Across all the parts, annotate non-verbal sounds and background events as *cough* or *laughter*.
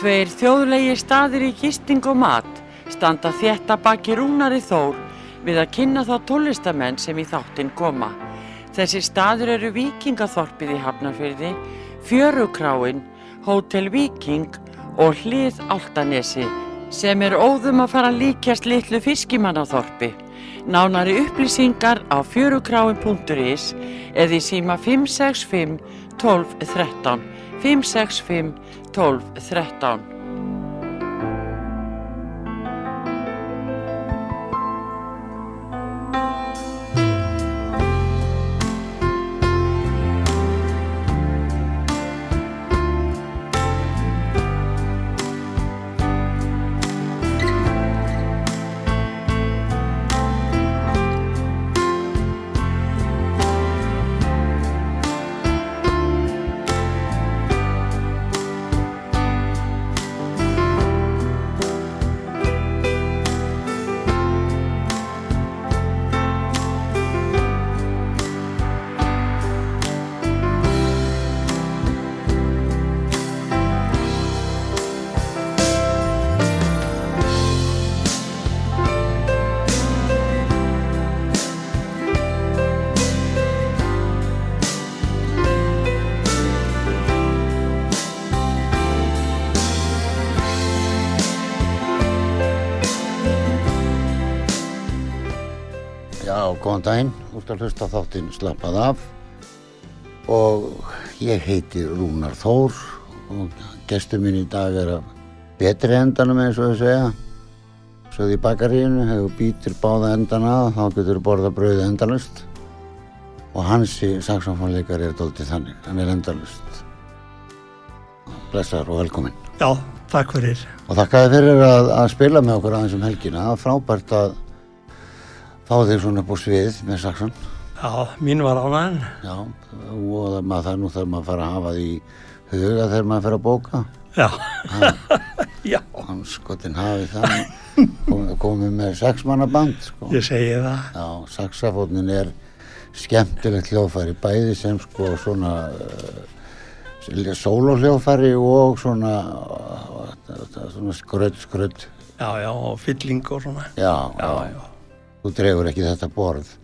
Tveir þjóðlegi staðir í gisting og mat standa þetta baki rúnari þór við að kynna þá tólistamenn sem í þáttinn koma. Þessi staður eru Víkingaþorpið í Hafnarfyrði, Fjörukráin, Hótel Víking og Hlið Altanesi sem er óðum að fara að líkjast litlu fiskimannaþorpi. Nánari upplýsingar á fjörukráin.is eða í síma 565 12 13 565 12 13 Já, góðan daginn, út að hlusta á þáttinn slappað af og ég heiti Rúnar Þór og gestur minn í dag er af betri endanum eins og þau segja svo því bakaríinu hefur býtir báða endana að þá getur borða brauði endalust og hansi saxofónleikar er dóltið þannig, hann er endalust Blessar og velkomin Já, takk fyrir. og þakkaði fyrir að, að spila með okkur aðeins um helgina, það var frábært að fá þig svona upp á svið með saxon Já, mín var ánægðin. Já, og það, maður, það nú þarf maður að fara að hafa því huga þegar maður fer að bóka. Já. Ah. *laughs* Já, Hanskotin hafi það, kom, komið með sexmannaband, sko. ég segi það. Já, saxafónin er skemmtilegt hljófæri, bæði sem sko svona uh, sóló hljófæri og svona, uh, svona skrödd, skrödd. Já, já, og fylling og svona. Já, Já, já. þú dregur ekki þetta borð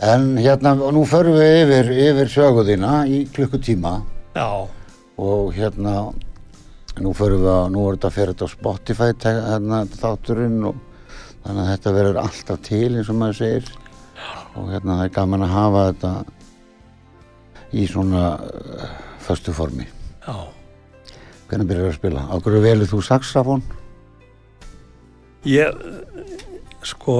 en hérna og nú förum við yfir, yfir söguðina í klukkutíma Já, og hérna nú förum við að, nú er þetta fyrir þetta á Spotify te- hérna, þátturinn og þannig að þetta verður alltaf til eins og maður segir og hérna það er gaman að hafa þetta í svona uh, föstu formi já. hvernig byrjar að spila? Á hverju velur þú saxafón? Ég, eh, sko,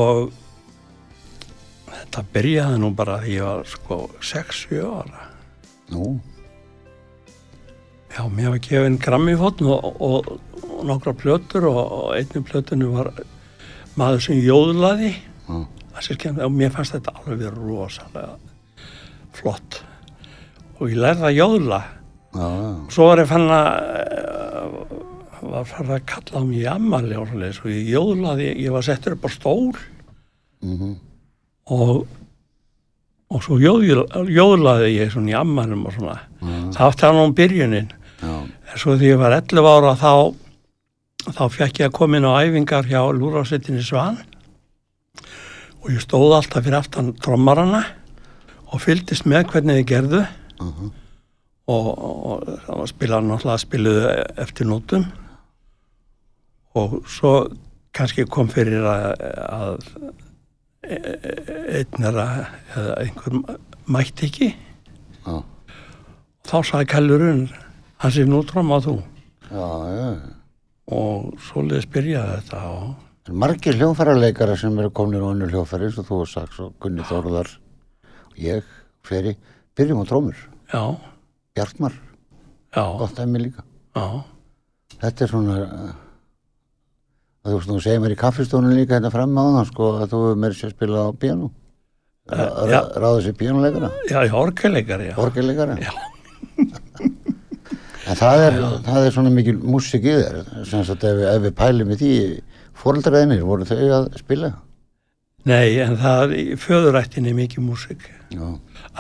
þetta byrjaði nú bara því ég var, sko, 6-7 ára. Nú, Já, mér var gefinn grammifótn og, og, og nokkra plötur og, og einni plötunni var maður sem jóðlaði. já, Það sé skemmt, og mér fannst þetta alveg rosalega flott. Og ég lærði að jóðla. já, já. Svo var ég fann að eh, var farið að kalla á mig í ammali og svoleiðis og ég jóðlaði, ég var settur upp á stól og og svo jóðl- jóðlaði ég svona í ammalum og svona. Það átti hann um byrjunin. Já, En svo því ég var 11 ára þá þá fekk ég að koma inn á æfingar hjá lúrásettinni Svan og ég stóð alltaf fyrir aftan trommarana og fylgdist með hvernig þið gerðu og, og, og spila náttúrulega spiluðu eftir nótum og svo kannski kom fyrir að, að e- e- einn er að eða einhver mætti ekki já, þá sagði kallurinn hann sem nú trommað þú já, já. og svoleiðis byrjaði þetta og Það eru margir hljóðfærarleikara sem eru komin á önnu hljóðfæri eins og þú og Saks og Gunni Þorðar og ég, fleri, byrjum á trómur. já, Bjartmar, já, gott dæmi líka. já, Þetta er svona, eh, að þú veist, þú segir mér í kaffistónu líka hérna fram á það, sko, að þú hefur meiri sér spilað á píanu. Eh, já. Ráða sér píanuleikara, já, já, orkeleikari, já, orgelleikara. Já. En það er, það er svona mikil músík í þér, sem sagt ef, við- ef við pælum í því, fóreldraðinir, voru þau að spila? nei, en það er í föðurættinni mikið músík, Já.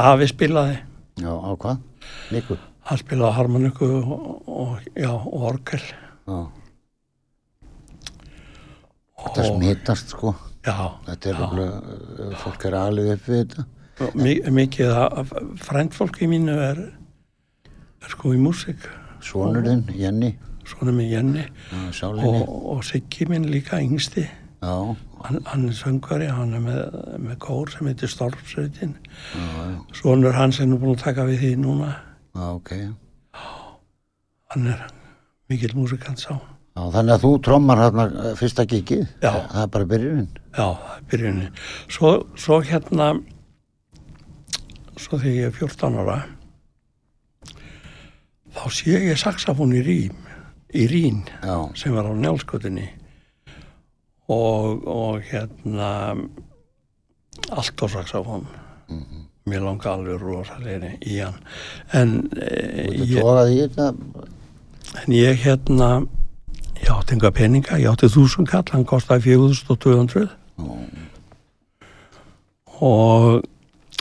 afi spilaði, Já, á hvað? Líku? hann spilaði á harmoniku og, og, já, og orgel Já. Þetta smitast sko, já, þetta er já. alveg, fólk er alveg upp við þetta. Og mi- mikið að frændfólki mínu er, er sko í músík Svonurinn, Jenny, svona með Jenni já, og, sálinni, og Siggi minn líka yngsti já, hann, hann er söngari, hann er með, með kór sem heitir Stormsveitin svonur hans er nú búin að taka við því núna já, ok. hann er mikil músikant sá Já, þannig að þú trommar hérna eh, fyrsta gigið, Já. það er bara byrjunin. já, byrjunni svo, svo hérna svo þegar ég er 14 ára þá sé ég saxafón í rím í rín Já, sem var á njálskutinni og, og hérna allt á saxofón mér langa alveg rosalegri í hann en, eh, þú ég, tókaði í þetta, en ég hérna ég átti enga peninga, ég átti þúsund kall hann kostaði 4200 Nú. og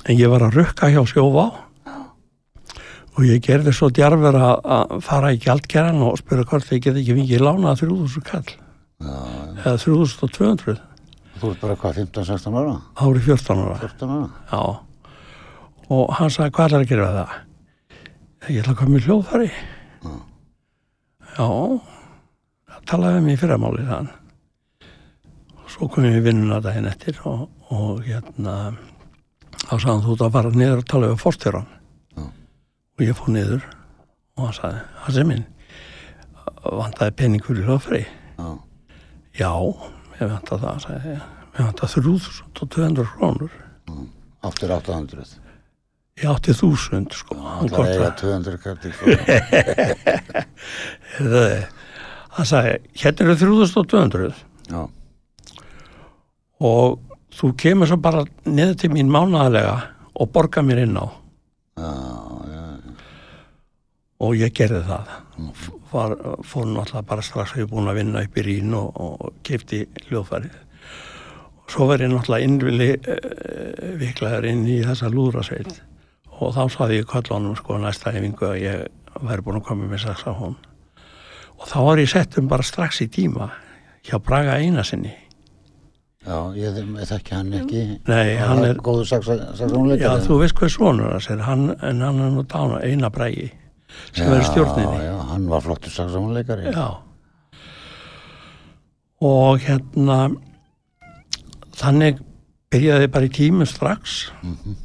en ég var að rukka hjá sjófá og ég gerði svo djarfur að- að fara í gjaldgeran og spura hvort ég get ekki fengið lánað 3000 kall já, eða 3200 þú ert bara hvað, 15-16 ára, ári 14 ára 14 ára, já. og hann sagði hvað er að gera við það ég ætla að koma í hljóðfari já það talaði við mig í fyrramáli þann og svo kom ég í vinnuna daginn eftir og, og hérna þá sagði hann þú ert að fara niður og tala við fórstjóran Já. og ég fór niður og hann sagði hann sem minn vantaði peningur í hljóðfari já, já, ég vantaði það sagði ég, ég vantaði 3200 krónur aftur 800. Ég átti þúsund, sko. Hann Það er eiga kortaði. 200 kartir sko. *laughs* fyrir. Heyrðu, Hann sagði, hérna eru 3200 Já, og þú kemur svo bara niður til mín mánaðarlega og borga mér inn á. já, já, já, Og ég gerði það. Var, fór náttúrulega bara strax að ég búin að vinna upp í Rín og, og keipti hljóðfærið. Og Svo verði náttúrulega innvili uh, viklaður inn í þessa lúðrasveit og þá saði ég kallunum sko næsta yfingu að ég væri búin að koma með saxafón. Og þá var ég settum bara strax í tíma hjá Braga Einarsinni. já, ég, ég þekki hann ekki. Nei, hann Það er, Góður já saksónleikari. þú veist hvað svonur hans er, hann, en hann er nú dána Einar Bragi sem verður stjórninni. Já, já, hann var flottur saksónleikari. Já. Og hérna, þannig byrjaði ég bara í tímum strax. Mhm.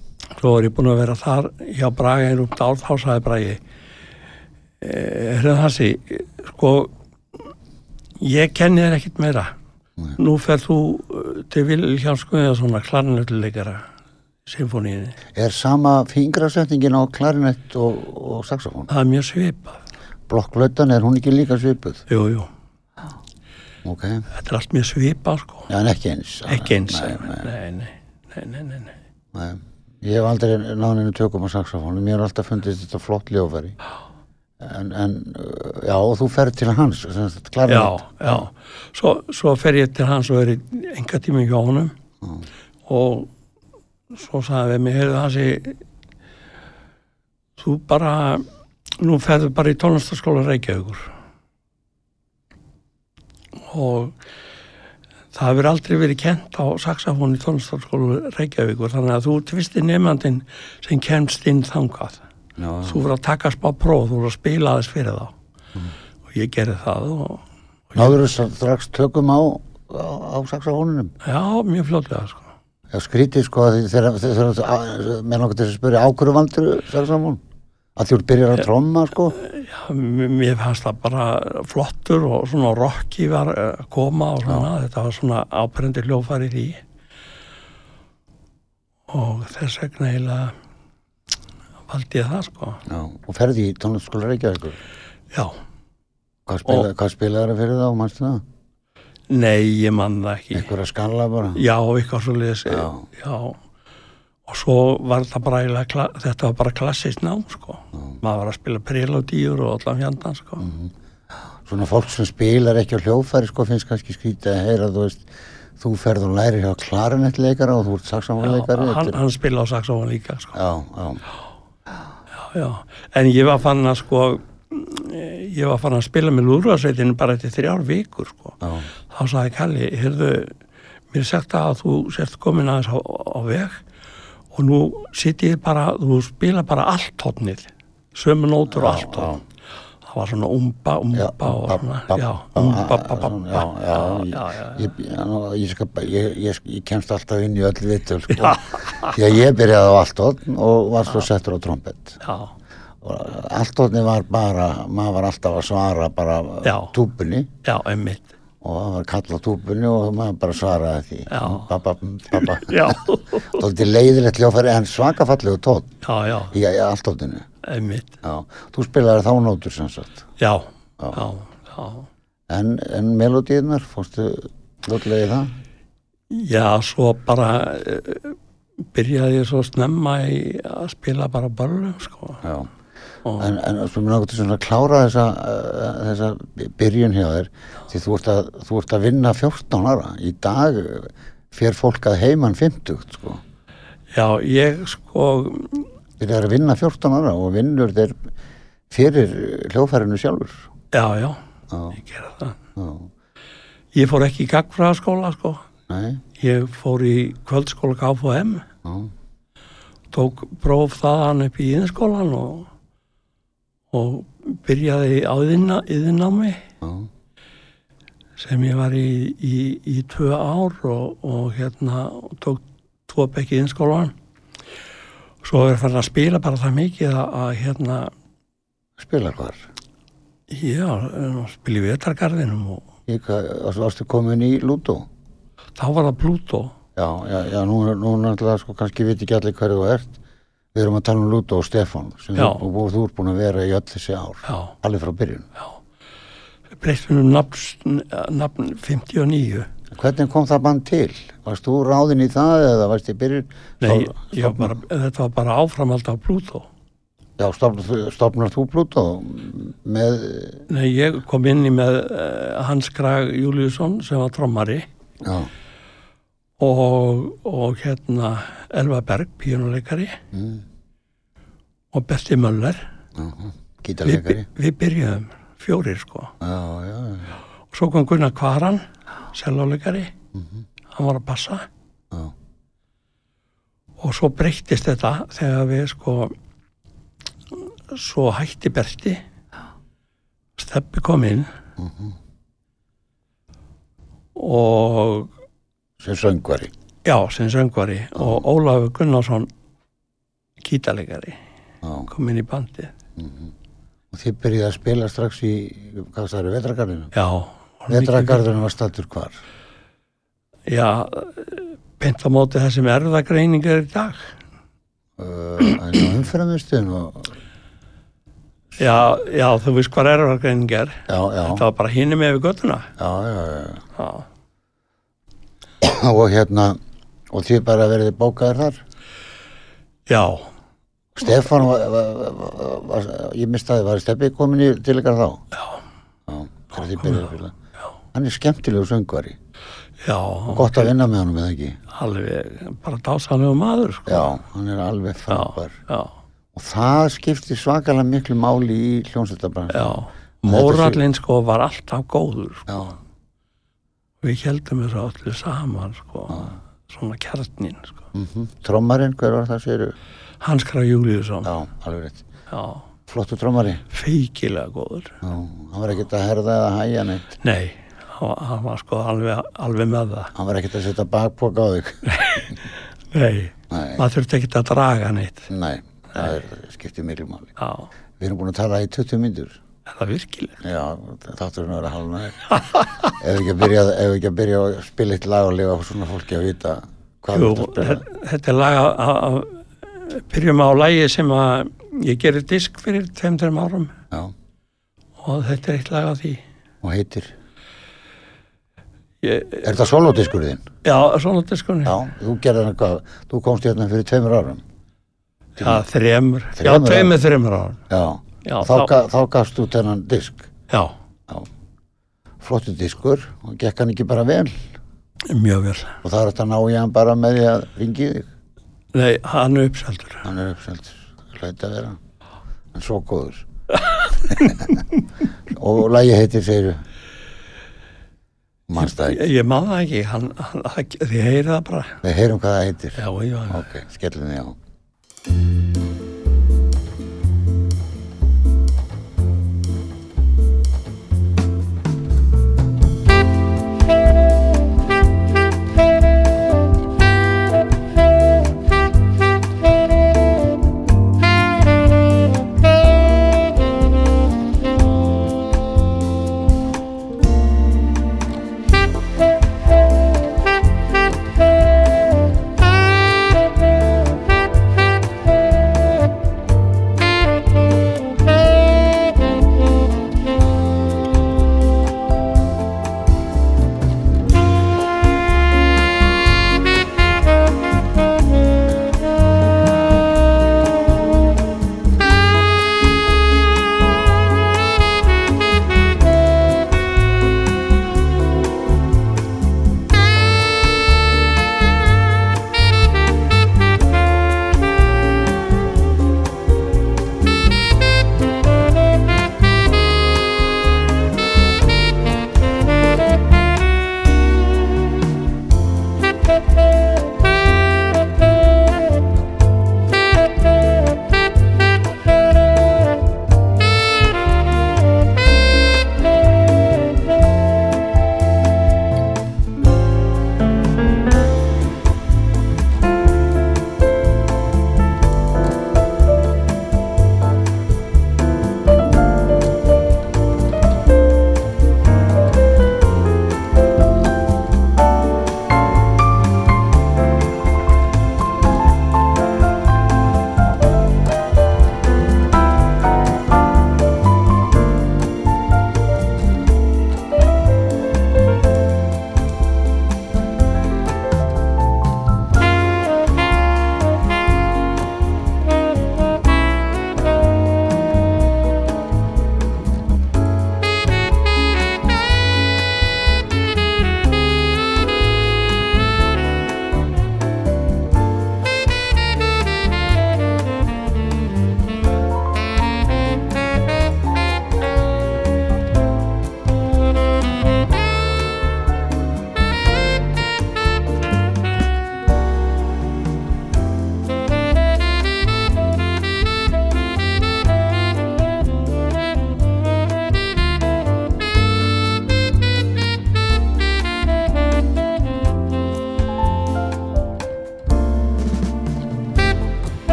Svo var ég búin að vera þar hjá Braga í rúmt ár, þá sagði Bragi, hérna þessi, sko, ég kenni þér ekkit meira. Nei. Nú ferð þú eh, til Vilhjálm Skuðjarssonar, klarnölduleikara, symfóníinni. Er sama fingrasetningin á klarinett og, og saxofón? Það er mjög svipað. Blokklautan, er hún ekki líka svipuð? Jú, jú, Ok, þetta er allt mjög svipað, sko. já, en ekki eins. Ekki eins. Nei, nei, nei, nei, nei, nei, nei, nei. nei. Ég hef aldrei náninu tökum á saxofónu, mér er alltaf fundist þetta flott ljófæri. En, en, uh, já, og þú ferð til hans, sem sagt, Já, klarinett. já. Svo, svo fer ég til hans og er í enga tími hjá honum og svo sagði við mig, heyrðu hansi, þú bara, nú ferðu bara í tónlistaskóla Reykjavíkur. Og það hefur aldrei verið kent á saxafón í tónlistaskóla Reykjavíkur, þannig að þú ert fyrsti nefnandinn sem kemst inn þangað Já, já, þú voru að taka smá próf, þú voru að spila aðeins fyrir þá og ég gerði það og Náður þú strax tökum á, á, á saxofónunum? já, mjög fljótlega sko. Já, skrítið sko að því þegar, þegar, þegar mér langar til að spyrja ákvöru vandur saxofón? Að því þú byrjar að tromma, sko? já, m- mér fannst það bara flottur og svona rocki var eh, að koma og svona, þetta var svona áperendi hljófari því og þess vegna eiginlega valdi ég það sko Já, og ferði í tónlistaskóla Reykjavíkur. já, Hvað, spila, hvað spilaði það fyrir þá, mannstu það? nei, ég man það ekki Einhverja skalla bara? já, eitthvað svo liðis já. Já. og svo var það bara eiginlega kla- þetta var bara klassist nám sko maður var að spila prelodíur og allan fjandan sko Svona fólk sem spilar ekki á hljófæri sko finnst kannski skrítið að heyra, þú veist, þú ferð og lærir hjá klarinettleikara og þú ert já, saksamleikari. hann, hann spila á saxofón líka sko. Já, já, já, já. En ég var fann að sko, ég var fann að spila með lúðrúðarsveitinu bara eftir þrjár vikur sko. Já, Þá sagði Kalli, heyrðu, mér er sagt að þú sért komin aðeins á, á veg og nú sitt ég bara, þú spila bara allt tónið, sömu nótur og allt tónið. Það var svona umba, umba Já, og ba- svona, ba- já, ba- umba, ba, ba, ba, svona, já, já, já, já, já. Ég, já, nú, ég, skal, bara- ég, ég, ég kemst alltaf inn í öll vitul sko. því að ég byrjaði á alltotn og var svo settur á trompet já. og alltotni var bara maður var alltaf að svara bara Já. túpunni Já, einmitt. og það var kallað túpunni og maður bara svaraði því Já. Babba, babba *laughs* Já, Þótti leiðilegt hljófæri en svakafallegu tótt já, já, í alltotninu einmitt. Já, þú spilaði þá nótur sem sagt Já, já, já. en, en melodíunar, fórstu ljótlega í það? Já, svo bara eh, byrjaði ég svo snemma í að spila bara börlum, sko. Já, en, en sko, svo mér náttúrulega svona að klára þessa, uh, þessa byrjun hjá þér því þú ert, að, þú ert að vinna 14 ára í dag eh, fer fólk að heiman 50 sko. Já, ég sko, byrjar að vinna 14 ára og vinnur þeir fyrir hljófærinu sjálfur já, já, Já. ég gera það. Já, Ég fór ekki í gagfræðaskóla, sko. nei, Ég fór í kvöldskóla KFM, já, tók próf þaðan upp í íðinskólan og, og byrjaði á yðina- yðinnámi. já, sem ég var í, í, í tvö ár og, og hérna og tók tvo bekki innskólan svo er farin að spila bara það mikið að, að hérna spilar hvar já, eh, spila í vetargarðinum og Í hvað, varstu- varstu komin í Lúdó? þá var það Pluto Já, já, já, nú, nú náttúrulega sko kannski viti ekki allir hverju þú ert við erum að tala um Lúdó og Stefán sem Já. þú, og þú ert búin að vera í öll þessi ár já, alveg frá byrjun breytum um nafn, nafn 59 Hvernig kom það band til? Varst þú ráðin í það eða varst í byrjun? Nei, Stofn- ég var bara, þetta var bara áframald af Pluto Já, stofnar, þú- stofnar þú Pluto með, Nei, ég kom inn í með eh, Hans Krag Júliusson sem var trommari já, og, og hérna Elva Berg, píjónuleikari og Berti Möller við, gítarleikari. við byrjuðum fjórir sko Já, já, já, og svo kom Gunnar Kvaran seljáleikari hann var að passa Mhm. já, og svo breyttist þetta þegar við sko svo hætti Berti Steppi kom inn og sem söngvari. já, sem söngvari og Ólafur Gunnarsson gítalegari Já, kom inn í bandið og þið byrjuði að spila strax í, hvað það eru, Vetragarðinu? Já, var mikið- Vetragarðinu var stattur hvar? Já, eh, beint á móti það sem erðagreining er í dag. Uh, en á umferðamustuðin og, Já, já, þú veist hvað erðagreining er. já, já, Það var bara hinni með við göttuna. já, já, já, Já, og hérna, og þið bara verðið bókaðir þar? já, Stefán var, var, var, var, ég mistaði, var Steppi komin í til ykkar þá? Já. Já, þegar þið byrjuðu að spila. Já. Hann er skemmtilegu söngvari. já Gott að vinna með honum eða ekki. alveg bara dásanlega maður, sko. Já, hann er alveg frábær. já, Og það skipti svakalega miklu máli í hljómsveitabransu. já. Mórallinn, sko, var alltaf góður. sko. Já. Við heldum þessu allir saman, sko. Svona kjarnin, sko. Mhm. Trommarinn, hver var það, segir Hans Krá Júliusson, Já, alveg rétt. já, Flottu trommari. feikilega góður. Já, hann var ekkert að herða eða hæja neitt. Nei, hann var- hann var sko alveg, alveg með það. Hann var ekkert að setja bakpoka á þig. Nei, Nei. maður þurfti ekki að draga neitt. Nei, það er, skipti miklu máli. Já, Við erum búin að tala í 20 myndur. er það virkilega? Já, þátturinn verður að halna þér. ef við ekki að byrja, ef við ekki að byrja að spila eitt lag og lifa svona fólki að vita hvað Jú, þú ert að spila. þe- þetta er lag að- að að- byrjum á lagi sem að ég gerir disk fyrir tveim, tveim árum Já, og þetta er eitt lag af því. og heitir. Ég, Er þetta solodiskur þinn? já, svona diskunni. Já, þú gerði hann hvað? Þú komst hérna fyrir tveimur árum. Já, þremur. Já, Þremur tveimur, þremur árum. Já, Já, þá, þá- þá, þá gafst þú þennan disk. Já, Já, flottu diskur og gekk hann ekki bara vel mjög vel. og það er þetta ná í hann bara með því að ringi þig. Nei, hann er uppseldur. Hann er uppselt, hlætt að vera. en svo *laughs* góður og lagi heitir segir mannstæk Ég, ég man það ekki, hann, hann, hann, þið heyrið það bara. við heyrum hvað það heitir Já, já, já. ok, skellum því á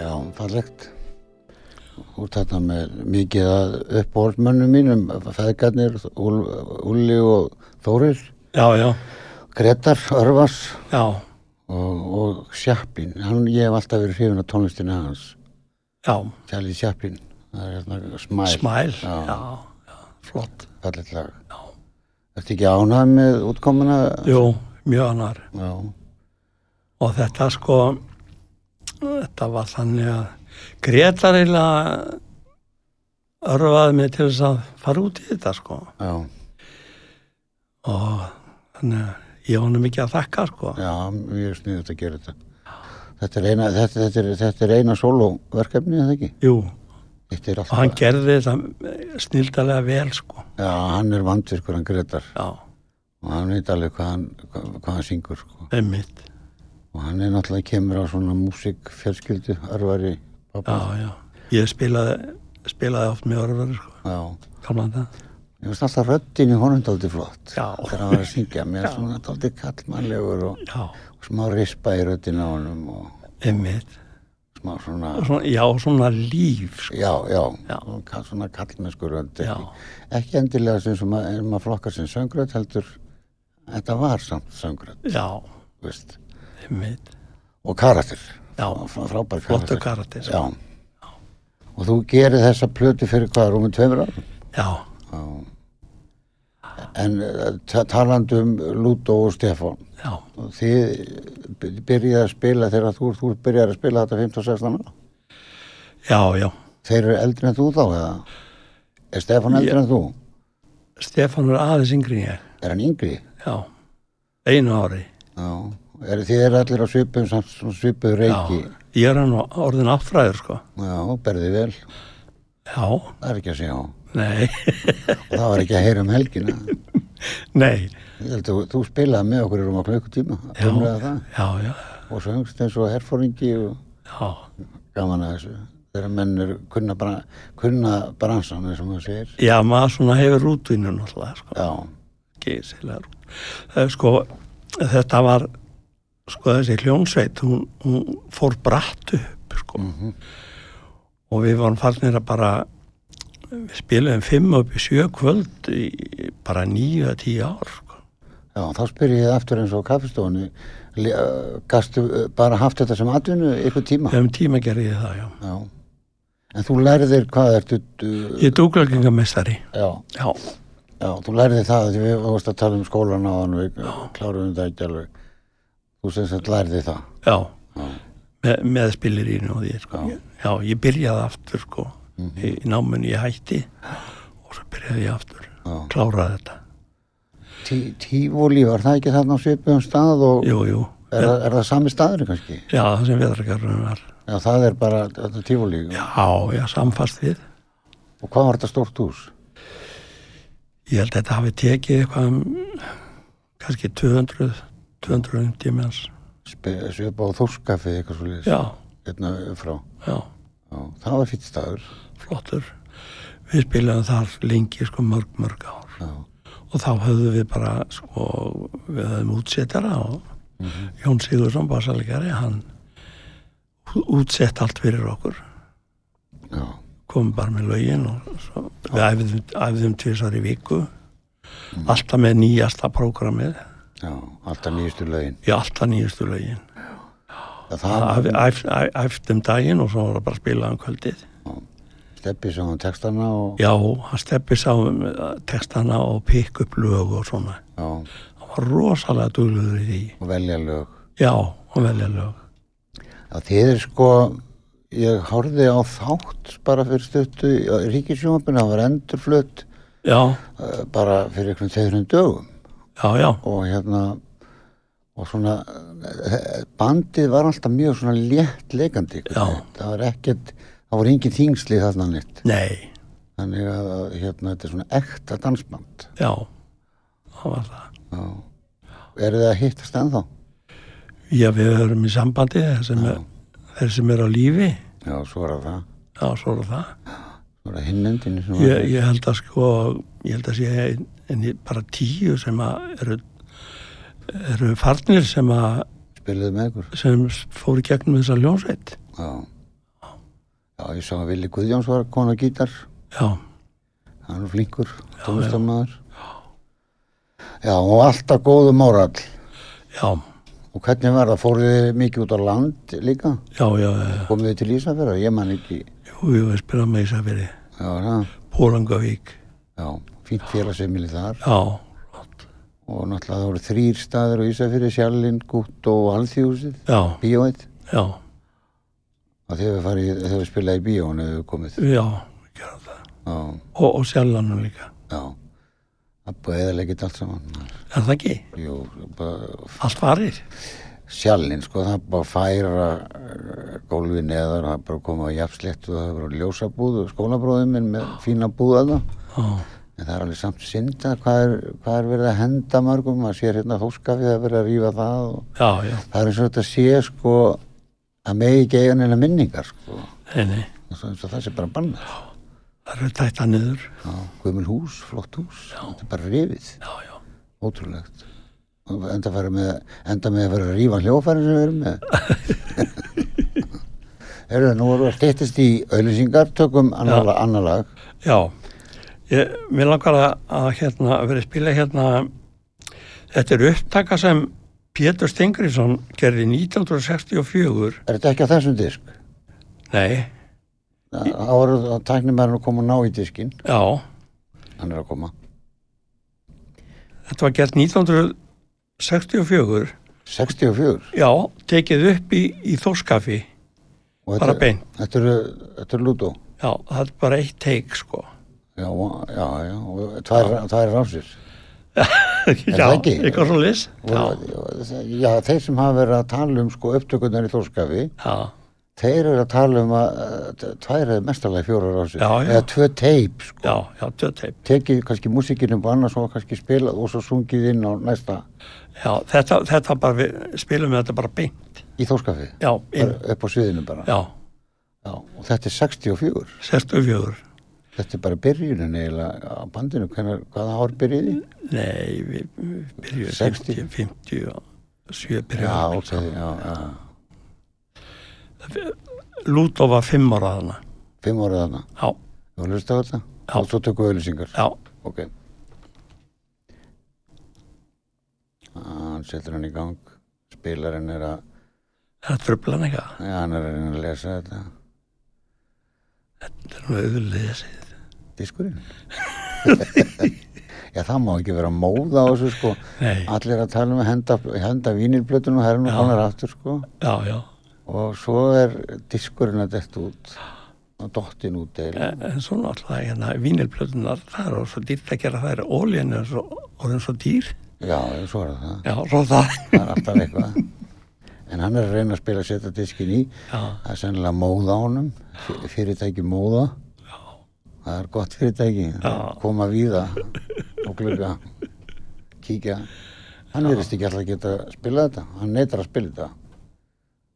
Já, fallegt. Úr þetta með mikið að uppbólmönnum mínum, feðgarnir, Úl, Úlli og Þórir, Já, já, Gretar, Örvas já, og, og Sjaplin. Hann, ég hef alltaf verið hrifin af tónlistina hans, já, Charlie Sjaplin. Það er hérna smæl, smæl, já, Já. já, flott. fallegt lag. Já. Ertu ekki ánægð með útkomuna? Jú, mjög annar. Já. Og þetta sko, þetta var þannig að Gretar eiginlega örfaði mig til þess að fara út í þetta sko. Já, Og þannig að ég honum ekki að þakka sko. já, mjög sniðut að gera þetta. Þetta er eina, þetta, þetta er, þetta er eina sólóverkefni, eða ekki? Jú, Þetta er og hann alltaf, gerði þetta snildalega vel sko já, hann er vandvirkur, hann Gretar já, og hann veit alveg hvað hann, hvað, hvað hann syngur sko. einmitt og hann er náttúrulega kemur á svona músikfjörskildu, örvari pappa. já, já, ég spilaði spilaði oft með orðverður sko Já, gamlan það, ég finnst alltaf röddin í honum daldi flott Já. þegar hann var að syngja, mér er svona daldi kallmannlegur og, já, og smá rispa í röddin á honum og einmitt smá svona Og svona, já, svona líf sko. Já, já, Já. og ka- svona kallmennskur rödd já, ekki, ekki endilega sem, sem maður, maður flokkar sem söngrödd heldur þetta var samt söngrödd, já, veist einmitt og karakter, já, frá, frábær karakter flottu karate sko. Já. Og þú gerir þessa plötu fyrir hvað, rúmum tveimur árum? já, Já. En eh, ta- talandi um Lúto og Stefán, já, þið by- byrjaði að spila þegar þú, þú byrjaði að spila þetta 15 og 16 ára? já, já Þeir eru eldri en þú þá eða? Er Stefán eldri en þú? Stefán er aðeins yngri en ég Er hann yngri? já, einu ári Já. Er, þið eru allir á svipum, samt svona svipuð reiki. já, ég er hann orðin áttfræður sko Já. berði vel. já, Það er ekki að segja á. nei, *laughs* Og það var ekki að heyra um helgina. nei Ég held að þú- þú spilaði með okkur í rúma klukkutíma. já, umræða það. já, já, og söngst eins og herfóringi og já gaman að þessu þegar menn eru kunna, bra, kunna bransan eins og maður segir já, maður svona hefur rútvinnu náttúrulega sko já, geysilega rúm. Eh, Sko, þetta var sko þessi hljónsveit, hún, hún fór bratt upp, sko. Og við vorum farnir að bara, við spilaðum fimm upp í sjö kvöld í í bara níu að tíu ár, sko. já, þá spyr ég aftur eins og kaffestofunni le- uh, gastu uh, bara haft þetta sem atvinnu ykkur tíma Við hefum tíma gerði ég það, já. já. en þú lærðir hvað ertu uh, Ég er dúglökingamestari, já, já, já, þú lærðir það því við varst að tala um skólan á hann við kláruðum það ekki alveg þú sem sagt lærðir það já. Já. Me, með spilirínu og því, sko. Já. Mhm. Já, ég byrjaði aftur, sko, í, í námunni ég hætti og svo byrjaði ég aftur, Já. kláraði þetta. Tí, tífúli, var það ekki þarna á svipum stað og er, Jú, jú. það- er það sami staður kannski? Já, það sem veðragarðurinn var. Já, það er bara þetta tífúli Já, já, samfast við. Og hvað var þetta stórt hús? Ég held að þetta hafi tekið eitthvað um, kannski 200, 250 manns. Svipa á Þórskafi eitthvað svo liðis, Já, hérna frá. já, Já, það var fýtt staður. flottur. Við spilaðum þar lengi, sko, mörg, mörg ár. Já, Og þá höfðum við bara, sko, við höfðum útsettara og Mhm. Jón Sigurðsson, basalegari, hann ú- útsett allt fyrir okkur. já, komum bara með lögin og svo, við æfðum, æfðum tvisar í viku Mhm. alltaf með nýjasta prógramið já, alltaf nýjustu lögin. í alltaf nýjastu lögin Já, það var æf, æf, æf, æftum daginn og svo var það bara að spila um kvöldið steppi sem á textana og, já, hann steppi sá um eh, textana og pikk upp lög og svona já, hann var rosalega dugluður í því og velja lög. já, og velja lög Já, þið er sko, ég horfði á þátt bara fyrir stuttu, Ríkisjónabina var endurflutt já, uh, bara fyrir einhvern tegurinn dögum. já, já, og hérna og svona eh, bandið var alltaf mjög svona létt leikandi einhvern Já. veginn. það var ekkert það voru engin þingsli þarna nýtt nei þannig að að, hérna þetta er svona ekta dansband já, það var það Já. eru þið að hittast ennþá? já, við höfum í sambandi þeir sem, er, þeir sem er á lífi já, svo er það það já, svo er það svo er það hinnendinu sem var Ég, ég held að sko, ég held að sé ein, ein, bara tíu sem að eru, eru farnir sem að spiluð með ykkur sem fóru gegnum þessa ljónsveit. já. já, ég sá að Vili Guðjóns var konu að gítar Já, hann er flinkur, tónlistamæður já, og alltaf góðu mórall já, Og hvernig var það? Fóruð þið mikið út á land líka? já, já, já, Komið þið til Ísafjörða? Ég man ekki. jú, jú, ég spila með Ísafiri, Já, það. Pólangavík, Já, fínt félagsefmili þar. já, Og náttúrulega það voru þrýr staðir á Ísafjörði, Sjallinn, Gutt og Alþjóðsið, já, bíóið. já, Og þegar við farið, þegar við spilaði í bíóinu hefur komið. já, gera það. Já, Og, og sjálfanum líka, já. Það búið eða legið allt saman. er það ekki? Jú, bara Allt varir? sjallinn sko, það er bara að færa eh, gólfi neðar, það er bara að koma á jafnsléttu og það er bara að ljósa búð og skólabróðum minn með fína búða það. Já, En það er alveg samt synda hvað er, hvað er verið að henda margum, maður sér hérna hóskafið það er verið að rífa það og já, já, það er eins og þetta sé sko að megi ekki eiga neina minningar sko, nei, nei, eins og eins og það sé bara bannað. það eru tætta niður, Já, gömul hús, flott hús, þetta er bara rifið, já, já, ótrúlegt. Og Enda, fara með, enda með að fara að rífa hljófæri sem við erum með. *laughs* Erðu, nú erum við að stýttist í auðlýsingar, tökum annar lag- annar lag. já, ég, mér langar að, að hérna, að vera að spila hérna, þetta er upptaka sem Pétur Stengriðsson gerði 1964, Er þetta ekki á þessum disk? nei, Það var að tæknum er að koma að ná í diskinn, já, hann er að koma. þetta var gert 1964, 64. já, tekið upp í, í Þórskafi, Og Bara beint. Þetta eru, þetta eru lútó. já, það er bara eitt teik, *laughs* sko. Já, já, já, og tvær, tvær rásir. já, ekki? eitthvað svo lis, já, Og, já, þeir sem hafa verið að tala um sko upptökurnar í Þórskafi, já, Þeir eru að tala um að eh, tvær eða mestarlega fjórar á sig. Já, já. Eða tvö teip, sko. já, já, töteip. Tekið kannski músikinum og annars og kannski spilað og svo sungið inn á næsta Já, þetta, þetta bara, við spilum við þetta bara beint. í þóskafið. Já, inn, Bara Upp á sviðinu bara. já, Já. Og þetta er 64. 64. Þetta er bara byrjunin eiginlega á bandinu. Hvenar, hvaða ár byrjuði? Nei, við, við byrjuðum 60. 50, 50 og Já, 7 byrjuðum. ok. Já, já. Lútó var 5 ára þarna. Fimm árið þarna. Já, Þú hlust á þetta? Já. Og svo tökum við öllisingar. já, Ok. Hann setur hann í gang. Spilarinn er að, það tröfla hann eitthvað. já, hann er að reyna að lesa þetta. Þetta er nú auðvitað þessi. Diskurinn? *laughs* Já, það má ekki vera móða á þessu, sko. Nei, Allir að tala um að henda, henda vínilblötunum, það er nú Já. konar aftur, sko. já, já. Og svo er diskurinn að detta út og dottin út eða. E, En en svo náttúrulega, hérna, vínilplötunar, það er orðið svo dýrt að gera, það er ólíðan er svo, orðin svo dýr. Já, já, svo er það. Já, svo það. Það er alltaf eitthvað. En hann er að reyna að spila að setja diskinn í. Já, Það er sennilega móða á honum, Fy- fyrirtæki móða. Það er gott fyrirtæki, Já. koma víða og glugga, kíkja. Hann verðist ekki alltaf að geta að spila þetta, hann neytar að spila þetta.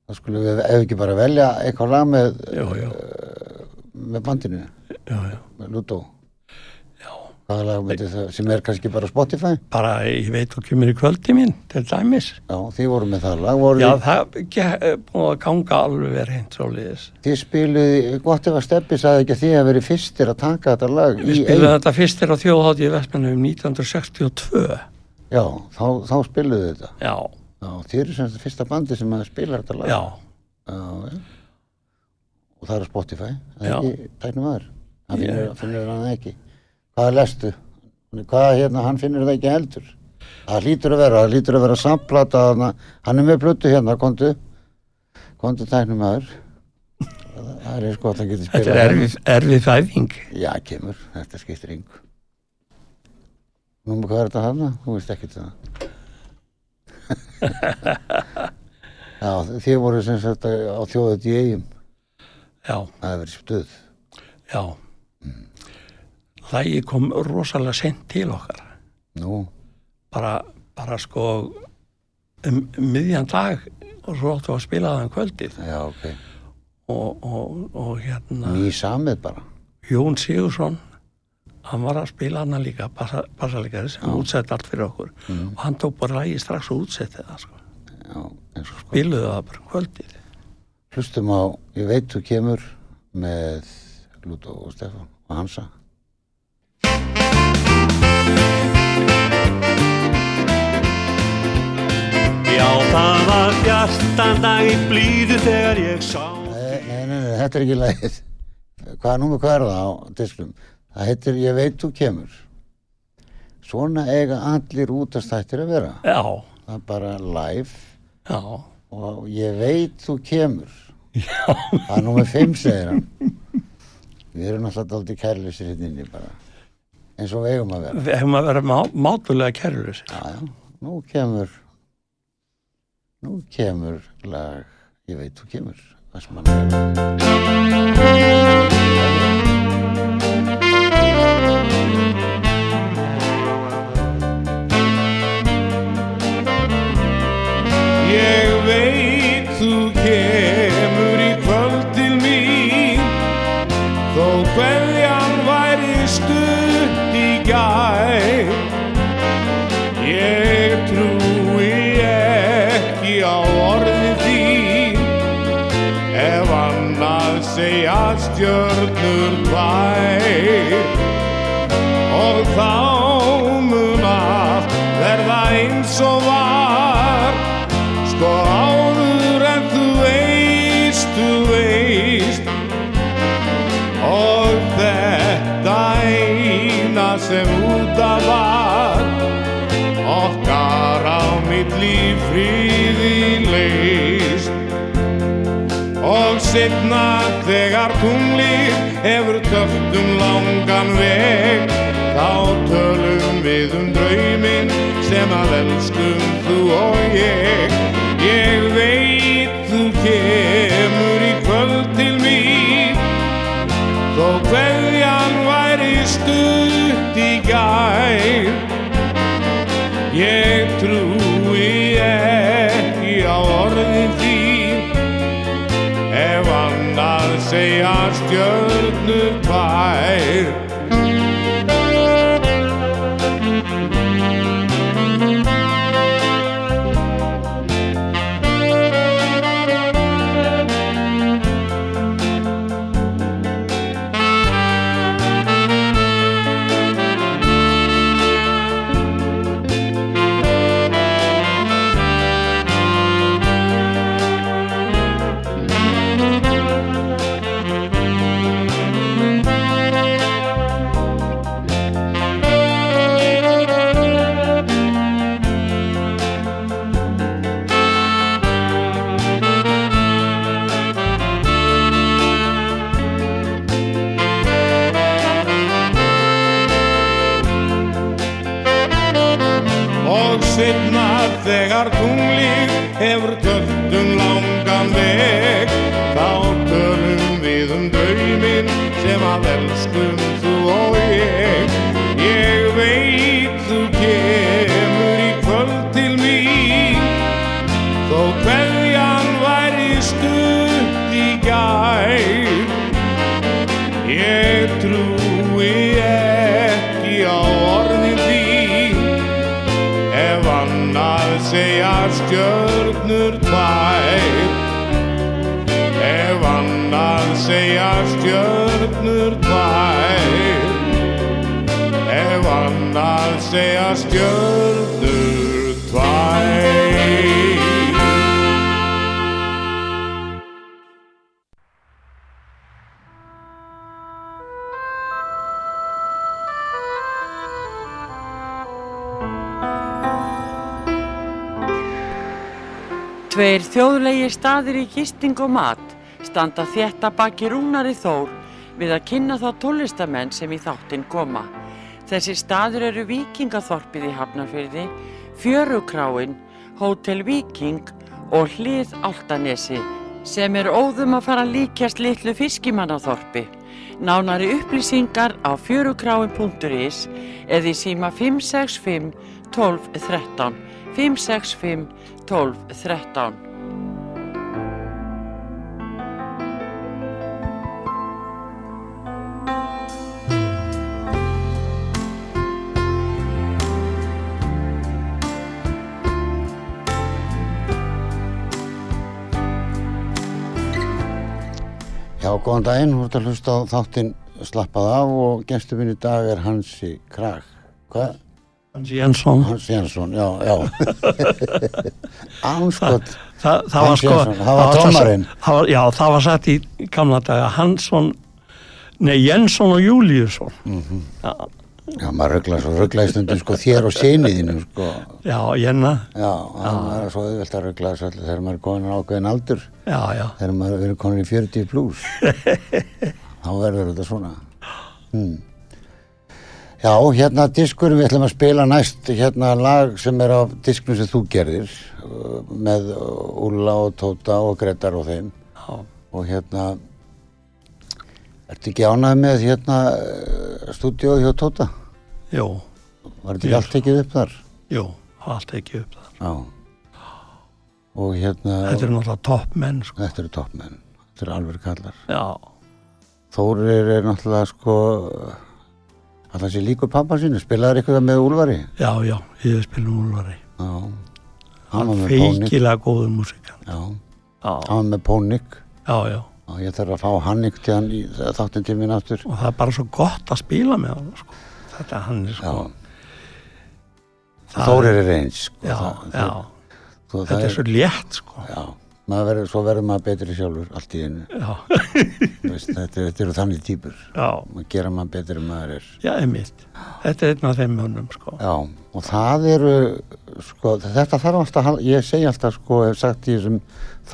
Það skulum við ef ekki bara velja eitthvað lag með, já, já, með bandinu, já, já. með Lútó. Já. Hvaða lag myndi það, sem er kannski bara á Spotify? Bara, ég veit og kemur í kvöldi mín, til dæmis. Já, þið voru með það lag, voru Já, það er eh, búið að ganga alveg verið hinn svoleiðis. þið spiluði, gott ef að Steppi sagði ekki að þið hafi verið fyrstir að taka þetta lag Við í spilum þetta fyrstir á þjóðháttið í Vestmennum 1962. Já, þá, þá spiluðu þetta. Já, Já, þið eru sem þetta fyrsta bandi sem að spila þetta lag. já, Já, já. Og það er á Spotify, það Já. er ekki tæknum aður. Hann finnur, finnur hann það ekki. Hvað lestu? Hvað hérna, hann finnur það ekki heldur. Það hlýtur að vera, það hlýtur að vera samplata þarna. Hann er með plötu hérna, kontu. Kontu tæknum aður. Það er eins gott að geta spilað. hérna. þetta er erfið, erfið fæðing. Já, kemur, þetta skiptir yngu. Númer hvað er þetta hana? Þú veist ekkert um *laughs* það. Já, þið voru sem sagt á þjóðut í eigum. Já, Það hefur verið stuð. já. Lægi kom rosalega sent til okkar. Nú, Bara, bara sko um um miðjan dag og svo áttu að spila það um kvöldið já, ok. og, og, og hérna Ný samið bara. Jón Sigursson hann var að spila hana líka bassa- bassalegari sem útsett allt fyrir okkur og hann tók bara lægi strax og útsetti það sko. Já, eins og sko. spiluðu það bara um kvöldið Hlustum á, ég veit þú kemur með Lúto og Stefán og Hansa. Já, það var bjartan dag í blíðu þegar ég sá Nei, nei, nei, nei, þetta er ekki lægið. Hvað númer hvað er það á disklum? Það heitir Ég veit þú kemur. Svona eiga allir útastættir að vera. já, Það er bara live já, og ég veit þú kemur. Já. Það er númer 5, segir hann. Við erum náttúrulega aldrei kærleysir hérna inni bara. Eins og við eigum að vera. við hefum að vera má, mátulega kærlus Já, já, nú kemur Nú kemur lag, ég veit þú kemur, Vestmannaeyjalag. Ég veit þú kemur í kvöld til mín Þó hverjan væri stutt í gær Ég trúi ekki á orði þín Ef annað segja stjörnur tvær Og þá mun allt verða eins og var Sko áður en þú veist, þú veist Og þetta eina sem út af var Okkar á milli fríði leist Og setna þegar tunglið hefur töft um langan veg Þá tölum við um drauminn sem að elskum þú og ég Ég veit þú kemur í kvöld til mín Þó hverjan væri stutt í gær Ég trúi ekki á orðin þín Ef annað segja stjörnu tvær og setna þegar tunglið hefur tölt um langan veg þá tölum við um drauminn sem að elskum þú og ég ég veit þú kemur í kvöld til mín þó hverjan væri stutt í gær ég trúi ekki á orðin þín ef annað segja stjörnur tvær ef annað segja stjörnur tvær ef annað segja stjörnur tvær Tveir þjóðlegi staðir í gisting og mat standa þétta baki Rúnari Þór við að kynna þá tólistamenn sem í þáttinn koma. Þessi staður eru Víkingaþorpið í Hafnarfyrði, Fjörukráin, Hótel Víking og Hlið Altanesi sem er óðum að fara að líkjast litlu fiskimannaþorpi. Nánari upplýsingar á fjörukráin.is eða í síma 565 12 13 565 12 13 Já, góðan daginn, þú ert að hlusta á þáttinn slappað af og gestur minn í dag er Hansi Krag. Hvað? Hans Jensson, Hans Jansson, já, já. Anskot, það, það var Hans sko Jensson, það var svo- tómarinn. það var- Já, það var sett í gamla daga Hansson, nei Jensson og Júliusson Mm. já, maður ruggla svo ruggla í stundum sko þér og sinniðinu sko. Já, Jenna, Já, það er svo auðvelt að ruggla þessu allir þegar maður er komin á ákveðin aldur, já, já þegar maður er verið komin í 40 pluss. Þá verður þetta svona. Hmm. Já, hérna diskur, við ætlum að spila næst hérna lag sem er á disknum sem þú gerðir uh, með Ulla og Tóta og Gretar og þeim Já. og hérna Ertu ekki ánægð með hérna stúdíu hjá Tóta? Jú, Var þetta ekki allt tekið upp þar? jú, hafa allt ekki upp það. Já Og hérna Þetta er náttúrulega topp menn, sko. Þetta eru toppmenn, þetta eru alveg kallar Já, Þórir er náttúrulega sko alltaf sér líkur pappa sínu, spilaður eitthvað með Úlfari já, já, ég spil um Úlfari. Já, hann var með Pónik Feikilega góður músikant. Já, Já, hann var með Pónik já, já. og ég þarf að fá hann ykkur til hann í þáttin tímin aftur Og það er bara svo gott að spila með hann, sko. Þetta hann er Já, sko... það- Þórir er eins sko, Já, það- já, það- þú- það þetta er svo létt, sko. Já, maður verður, svo verður maður betri sjálfur allt í einu, Já, *laughs* Þú veist, þetta, þetta eru þannig típur já, maður gera maður betri en maður er já, einmitt. Þetta er einn af þeim mönnum, sko. Já, og það eru, sko, þetta þarf alltaf, að hal- ég segi alltaf, sko, hef sagt í þessum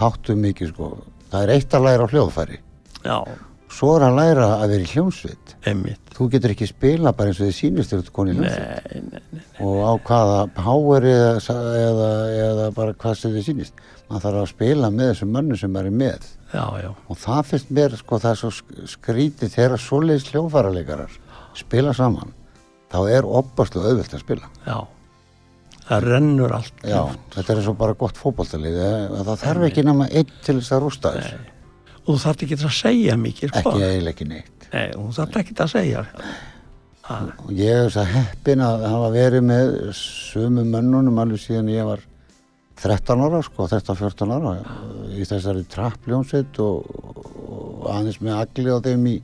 þáttum mikið, sko, það er eitt að læra á hljóðfæri, Já, svo er að læra að vera í hljómsveit. einmitt. Þú getur ekki spila bara eins og þið sýnist þegar þú ert koni í hljómsveit Nei, nei, nei. og á hvaða power eða, sa- eða, eða bara hvað sem þið sýnist. Maður þarf að spila með þessum mönnum sem maður er með Já, já, og það finnst mér, sko, það er svo sk- skrítið þegar svoleiðis hljóðfæraleikarar spila saman, þá er opaslu auðvelt að spila. já. Það rennur allt. Já, þetta er eins og bara gott fótballtalið það þarf ekki nema einn til þess að rústa þess Og þú þarf ekki að segja mikið, sko. ekki eiginlega ekki neitt Nei, þú þarf ekki að segja. Það, og ég er þess að heppin að hafa verið með sömu mönnunum alveg síðan ég var 13 ára sko, 13-14 ára í þessari trappljónsveit og, og aðeins með agli á þeim í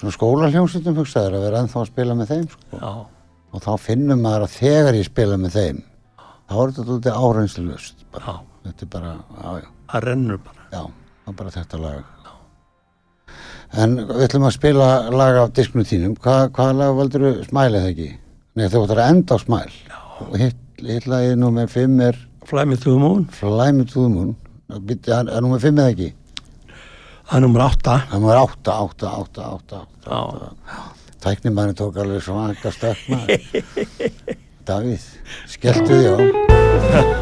svona skólaljónsveitum hugsaður að vera ennþá að spila með þeim sko. já, og þá finnum maður að þegar ég spila með þeim þá er þetta alltaf áreynslust já, þetta er bara, já já það rennur bara. Já, það er bara þetta lag. En við ætlum að spila lag af disknum þínum. Hva, hvaða lag valdur þú smælið ekki? Nei, þú ætlar að enda á smæl. Já. Og hitt, hitt lagið nummer 5 er Fly me to the moon, Fly Me to the Moon. Býttu, það er nummer 5 eða ekki? það er nummer átta. Það var 8, 8, 8, 8, 8. Já, Tæknimæri tók alveg svaka stökk. Davíð, skelltu því á.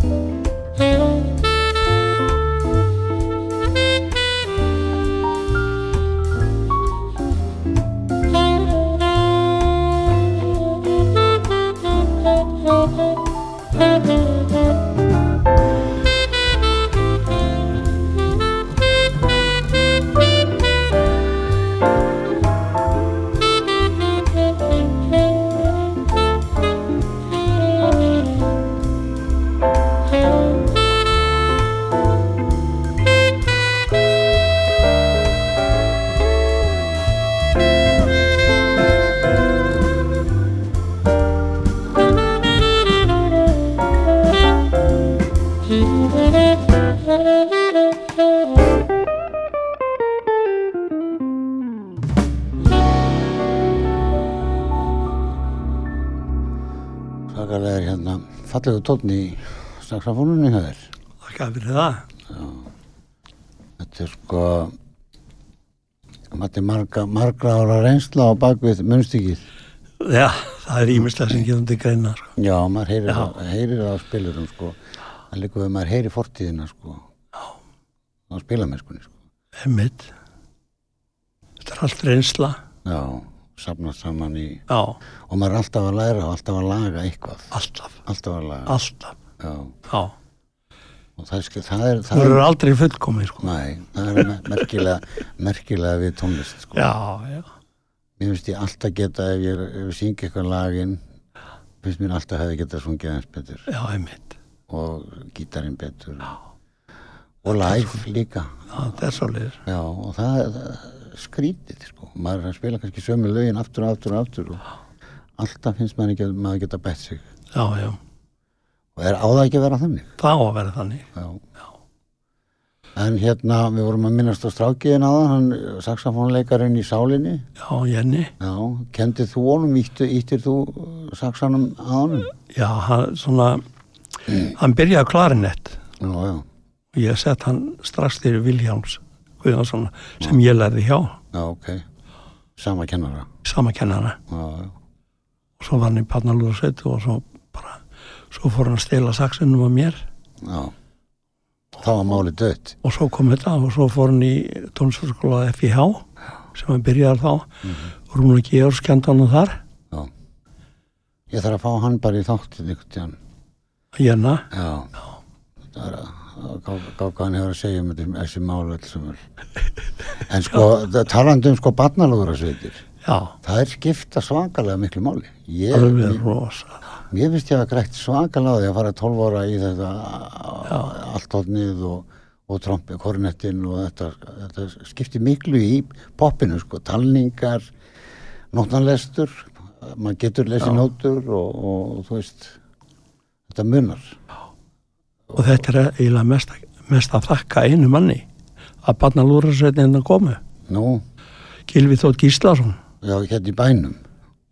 Thank Svakalega er hérna fallegu tónn í saxofónunni hjá þér. Þakka fyrir það. Þetta er sko, þetta er marga, margra ára reynsla á bakvið munstíkið. Já, það er ímislega sem getum til greina. Sko. Já, maður heyrir, Já. Það, heyrir það á spilurum sko. Það líka við maður heyrir fortíðina sko. Já. Á spilamennskunni sko. Emmitt. Þetta er allt reynsla. Já, safnast saman í, Já, og maður er alltaf að læra og alltaf að laga eitthvað. alltaf. Alltaf að laga. Alltaf. Já. Já. Og það er, ske- það er, Þú það er, verður aldrei fullkomið, sko. næ, það er me- merkilega, merkilega við tónlist sko. Já, já. Mér finnst ég alltaf geta, ef ég, er- ef ég syngi eitthvað laginn, finnst mér alltaf hefði getað sungið eins betur. Já, emmitt. og gítarinn betur og live líka Já, það er svo liður. já, og það er það er skrítið sko. maður er að spila kannski sömu lögin aftur og aftur og aftur og alltaf finnst maður ekki að maður geta bætt sig Já, já. og er á það ekki að vera þannig Það á að vera þannig. já. en hérna við vorum að minnast á strákiðin aðan hann saxofónleikarinn í sálinni Já, Jenny. já, kendið þú honum, íttu, íttir þú uh, saxanum að honum Já, hann svona, hann byrjaði á klarinett já, já, og ég sett hann strax til Viljáns Guðjónsson sem ég lærði hjá, já, ok sama kennara sama kennara já, já, og svo var hann í Patnalúðarsveitu og svo bara, svo fór hann að stela saxinum á mér já þá var málið dött og svo kom þetta og svo fór hann í tónstofskóla FIH sem hann byrjaði þá mm -hmm. Rúna Georgs kendi hann þar Já. Ég þarf að fá hann bara í þáttinn einhvern tíðan. Jenna, Já. Já. Það er að gá- gá hvað hann hefur að segja um þetta- þessi málu alls sem er. En sko, *laughs* það- talandi um sko barnalúðrasveitir, já, það er skipta svakalega miklu máli. Ég, alveg mér, rosa mér finnst ég að greitt svakalega á því að fara 12 ára í þetta alltóttnið og, og trompi, kornettinn og þetta, þetta skipti miklu í poppinu sko, talningar, nótnanlestur, maður getur lesið nótur og, og, þú veist, þetta munar. og þetta er eiginlega mest, mest að þakka einu manni að Patnalúðarsveitin komu Nú, Gilvi Þótt Gíslason já, hérna í bænum,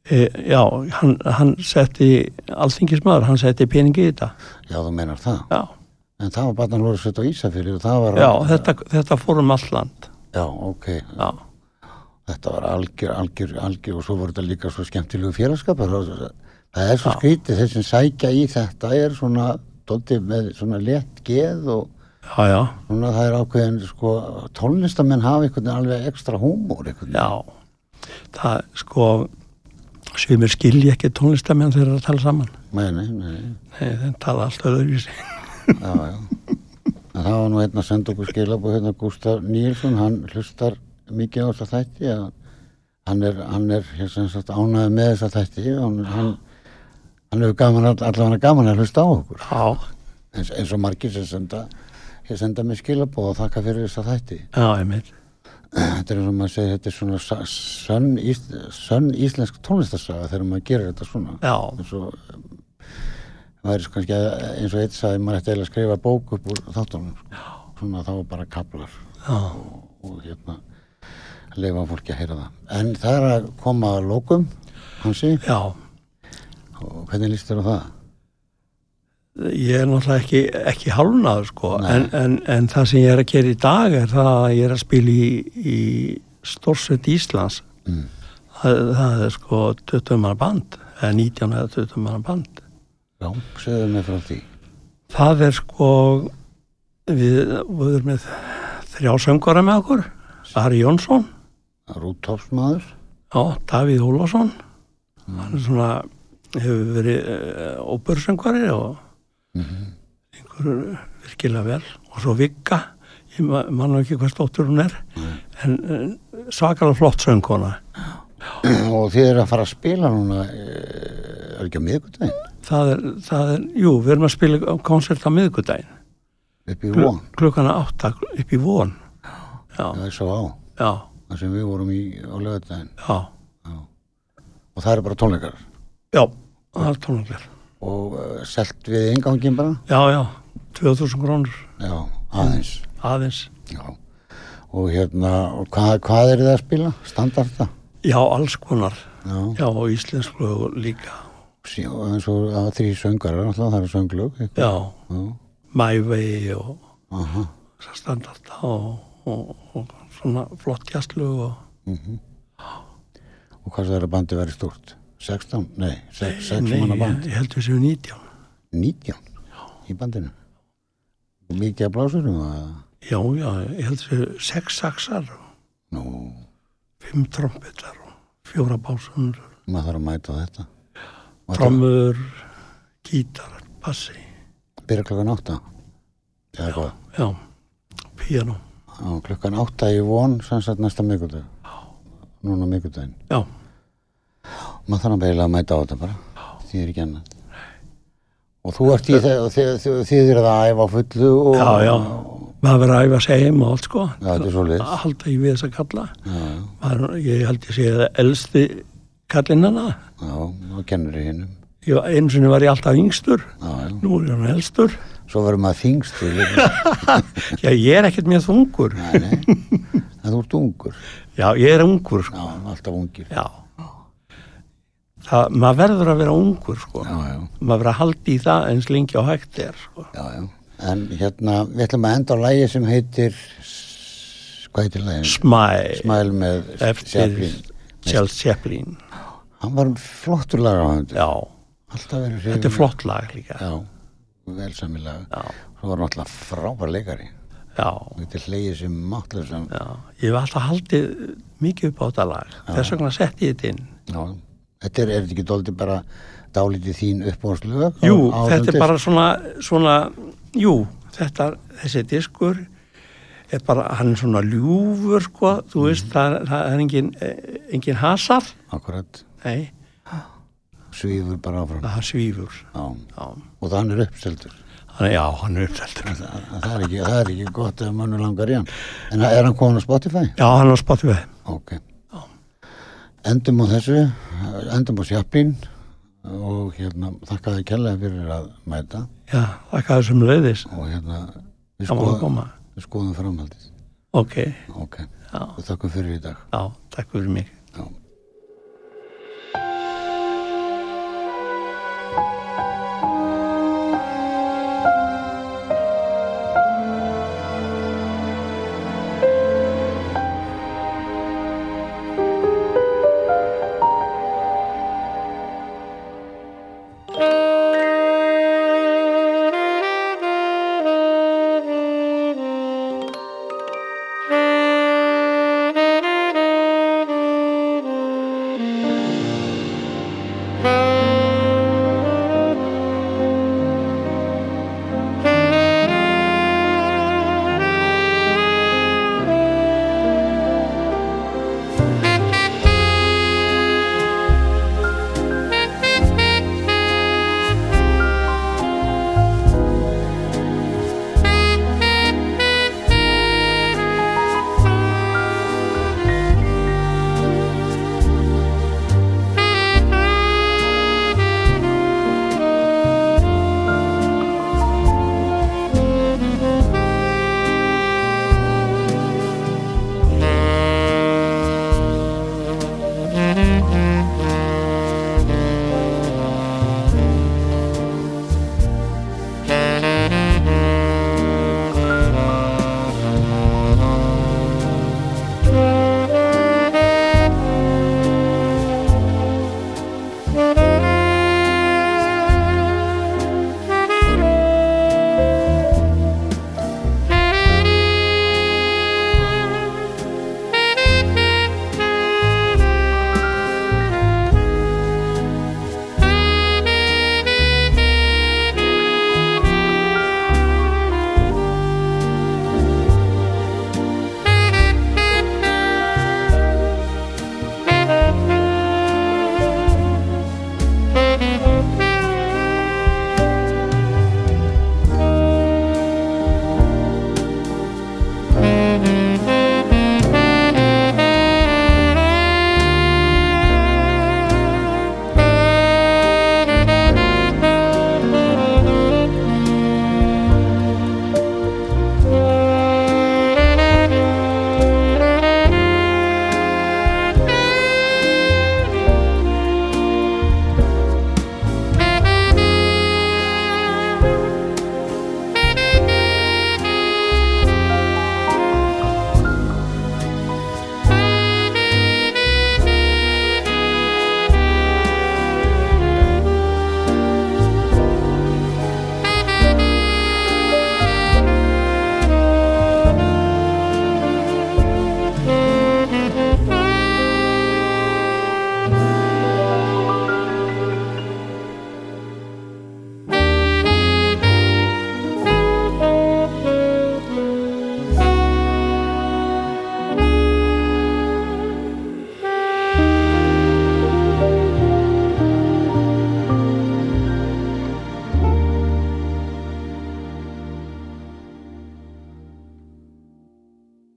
e, já, hann, hann setti alþingismöður, hann setti peningi í þetta já þú meinar það. já, En það var barnalúðrasveit á Ísafyrir og það var... já þetta, þetta fór um allt land Já, ok, já, þetta var algjör, algjör, algjör og svo voru þetta líka svo skemmtilegu félagskapar það það er svo skrítið, þeir sem sækja í þetta er svona dóttið með svona létt geð og já, já, svona það er ákveðin sko, tónlistamenn hafa einhvern veginn alveg ekstra húmór einhvern veginn. já. það sko sumir skilji ekki tónlistamenn þegar þeir eru að tala saman Nei, nei, nei, Nei, þeir tala alltaf öðruvísi já, já. En það var nú einn að senda okkur skilabú hérna Gustaf Níelsson, hann hlustar mikið á þessa þætti að hann er, hann er hér sem sagt ánæði með þessa þætti og hann, hann, hann hefur gaman, allavega gaman að hlusta á okkur. já, eins, eins og margir sem senda ég senda mér skilabóð og þakka fyrir þess að þætti já, einmitt þetta er eins og maður segir þetta er svona sa- sönn, ís, sönn íslensk tónlistarsaga þegar maður gerir þetta svona já, eins og um, maður er kannski að- eins og eitt sagði maður ætti eiginlega að skrifa bók upp úr þáttunum sko. svona þá er bara kaplar já, og hérna leifa fólki að heyra það en það er að koma að lókum hansi já og hvernig líst þér á það? ég er náttúrulega ekki, ekki hálnaður sko, Nei. en, en, en það sem ég er að gera í dag er það að ég er að spila í, í Stórsveit Íslands Mm. það, það er sko 20 manna band, eða 19 eða 20 manna band Já, segðu mig frá því það er sko við, við erum með þrjá söngara með okkur Ari Jónsson, Rútofsmaður já, Davíð Ólafsson hann er svona hefur verið uh, óbörsöngari eh, og einhverju virkilega vel og svo Vigga ég ma- man nú ekki hvað stóttur hún er en, en svakalega flott söngkona Og þið eru að fara að spila núna, eh, er ekki á miðgudaginn, það er, það er, jú, við erum að spila á konsert á miðgudaginn upp í von, klukkana átta upp í von já, það er svo á, já, það sem við vorum í á lögudaginn. já Og það eru bara tónleikar já, það er tónleikar og uh, selt við ingangin bara, já, já, 2000 krónur já, aðeins, aðeins já. Og hérna, og hvað, hvað er þið að spila? Standarda? já, alls konar, Já, já, og íslensk lög líka, sí, og eins og að þrý söngarar, alltaf það eru sönglög, eitthvað. já Já, My Way og aha, þessar standarta og, og, og svona flott jæslu og og hvað það er að bandi verið stort? 16? Nei, 6, 6 Nei, manna band. ég held við séu 19 19 í bandinu og mikið að blásurum að já, já, ég held við séu 6 saxar og nú, 5 trompetar og 4 básunur maður þarf að mæta á þetta og þetta trommur, gítar, bassi byrja klokkan átta eða hvað, já, piano á klokkan átta í von sem sagt næsta mikudag núna mikudaginn, já, maður þarf að beila að mæta á þetta bara, því er ekki annað og þú ert í þegar þið, þið, þið er að æfa á fullu og, já, já maður verið að æfa sig heim og allt sko Já, þetta er svoleiðis. að halda í við þessa kalla já, já, maður, ég held ég sé að elsti kallinnana já, og kennur í hinnum ég, einu sinni var ég alltaf yngstur já, já, nú er hann elstur svo verður maður þingstu líka, Já, ég er ekkert mjög þungur. nei, nei *laughs* en þú ert ungur, Já, ég er ungur, sko. já, alltaf ungir Já. Það, maður verður að vera ungur, sko. já, já Maður verður að haldi í það eins lengi og hægt er, sko. Já, já. En hérna, við ætlum að enda á lægi sem heitir, s- hvað heitir lægin? Smæ, Smæl með eftir Chaplin. Charles Chaplin. Hann var flottur lagahöndur. Já, Alltaf verið hrifin. þetta er flott lag líka. Já, vel sami lag. Já. Svo var náttúrulega frábær leikari. Já, Þetta er hlegið sem máttlega sem, já. Ég hef alltaf haldið mikið upp á þetta lag. Þess vegna setti ég þetta inn. já. Þetta er, er þetta ekki dóldi bara dálítið þín uppbóðslög? Jú, þetta er bara svona, svona, jú, þetta, þessi diskur er bara, hann er svona ljúfur, sko, þú veist, það, er- það er engin, eh, engin hasar, Akkurat, nei, svífur bara áfram. það svífur, Já. já, Og þannig er uppseldur. þannig, já, hann er uppseldur. Það, það, er ekki, það er ekki gott ef mönnur langar í hann. En er hann komin á Spotify? Já, hann er á Spotify, Ok. Endum á þessu, endum á sjappin og hérna þakka þið kærlega fyrir að mæta já, þakka þessum leiðis, og hérna við, það má að skoðum- koma, við skoðum framhaldið. ok, Ok, já, við þakkum fyrir í dag. já, takk fyrir mig. Já.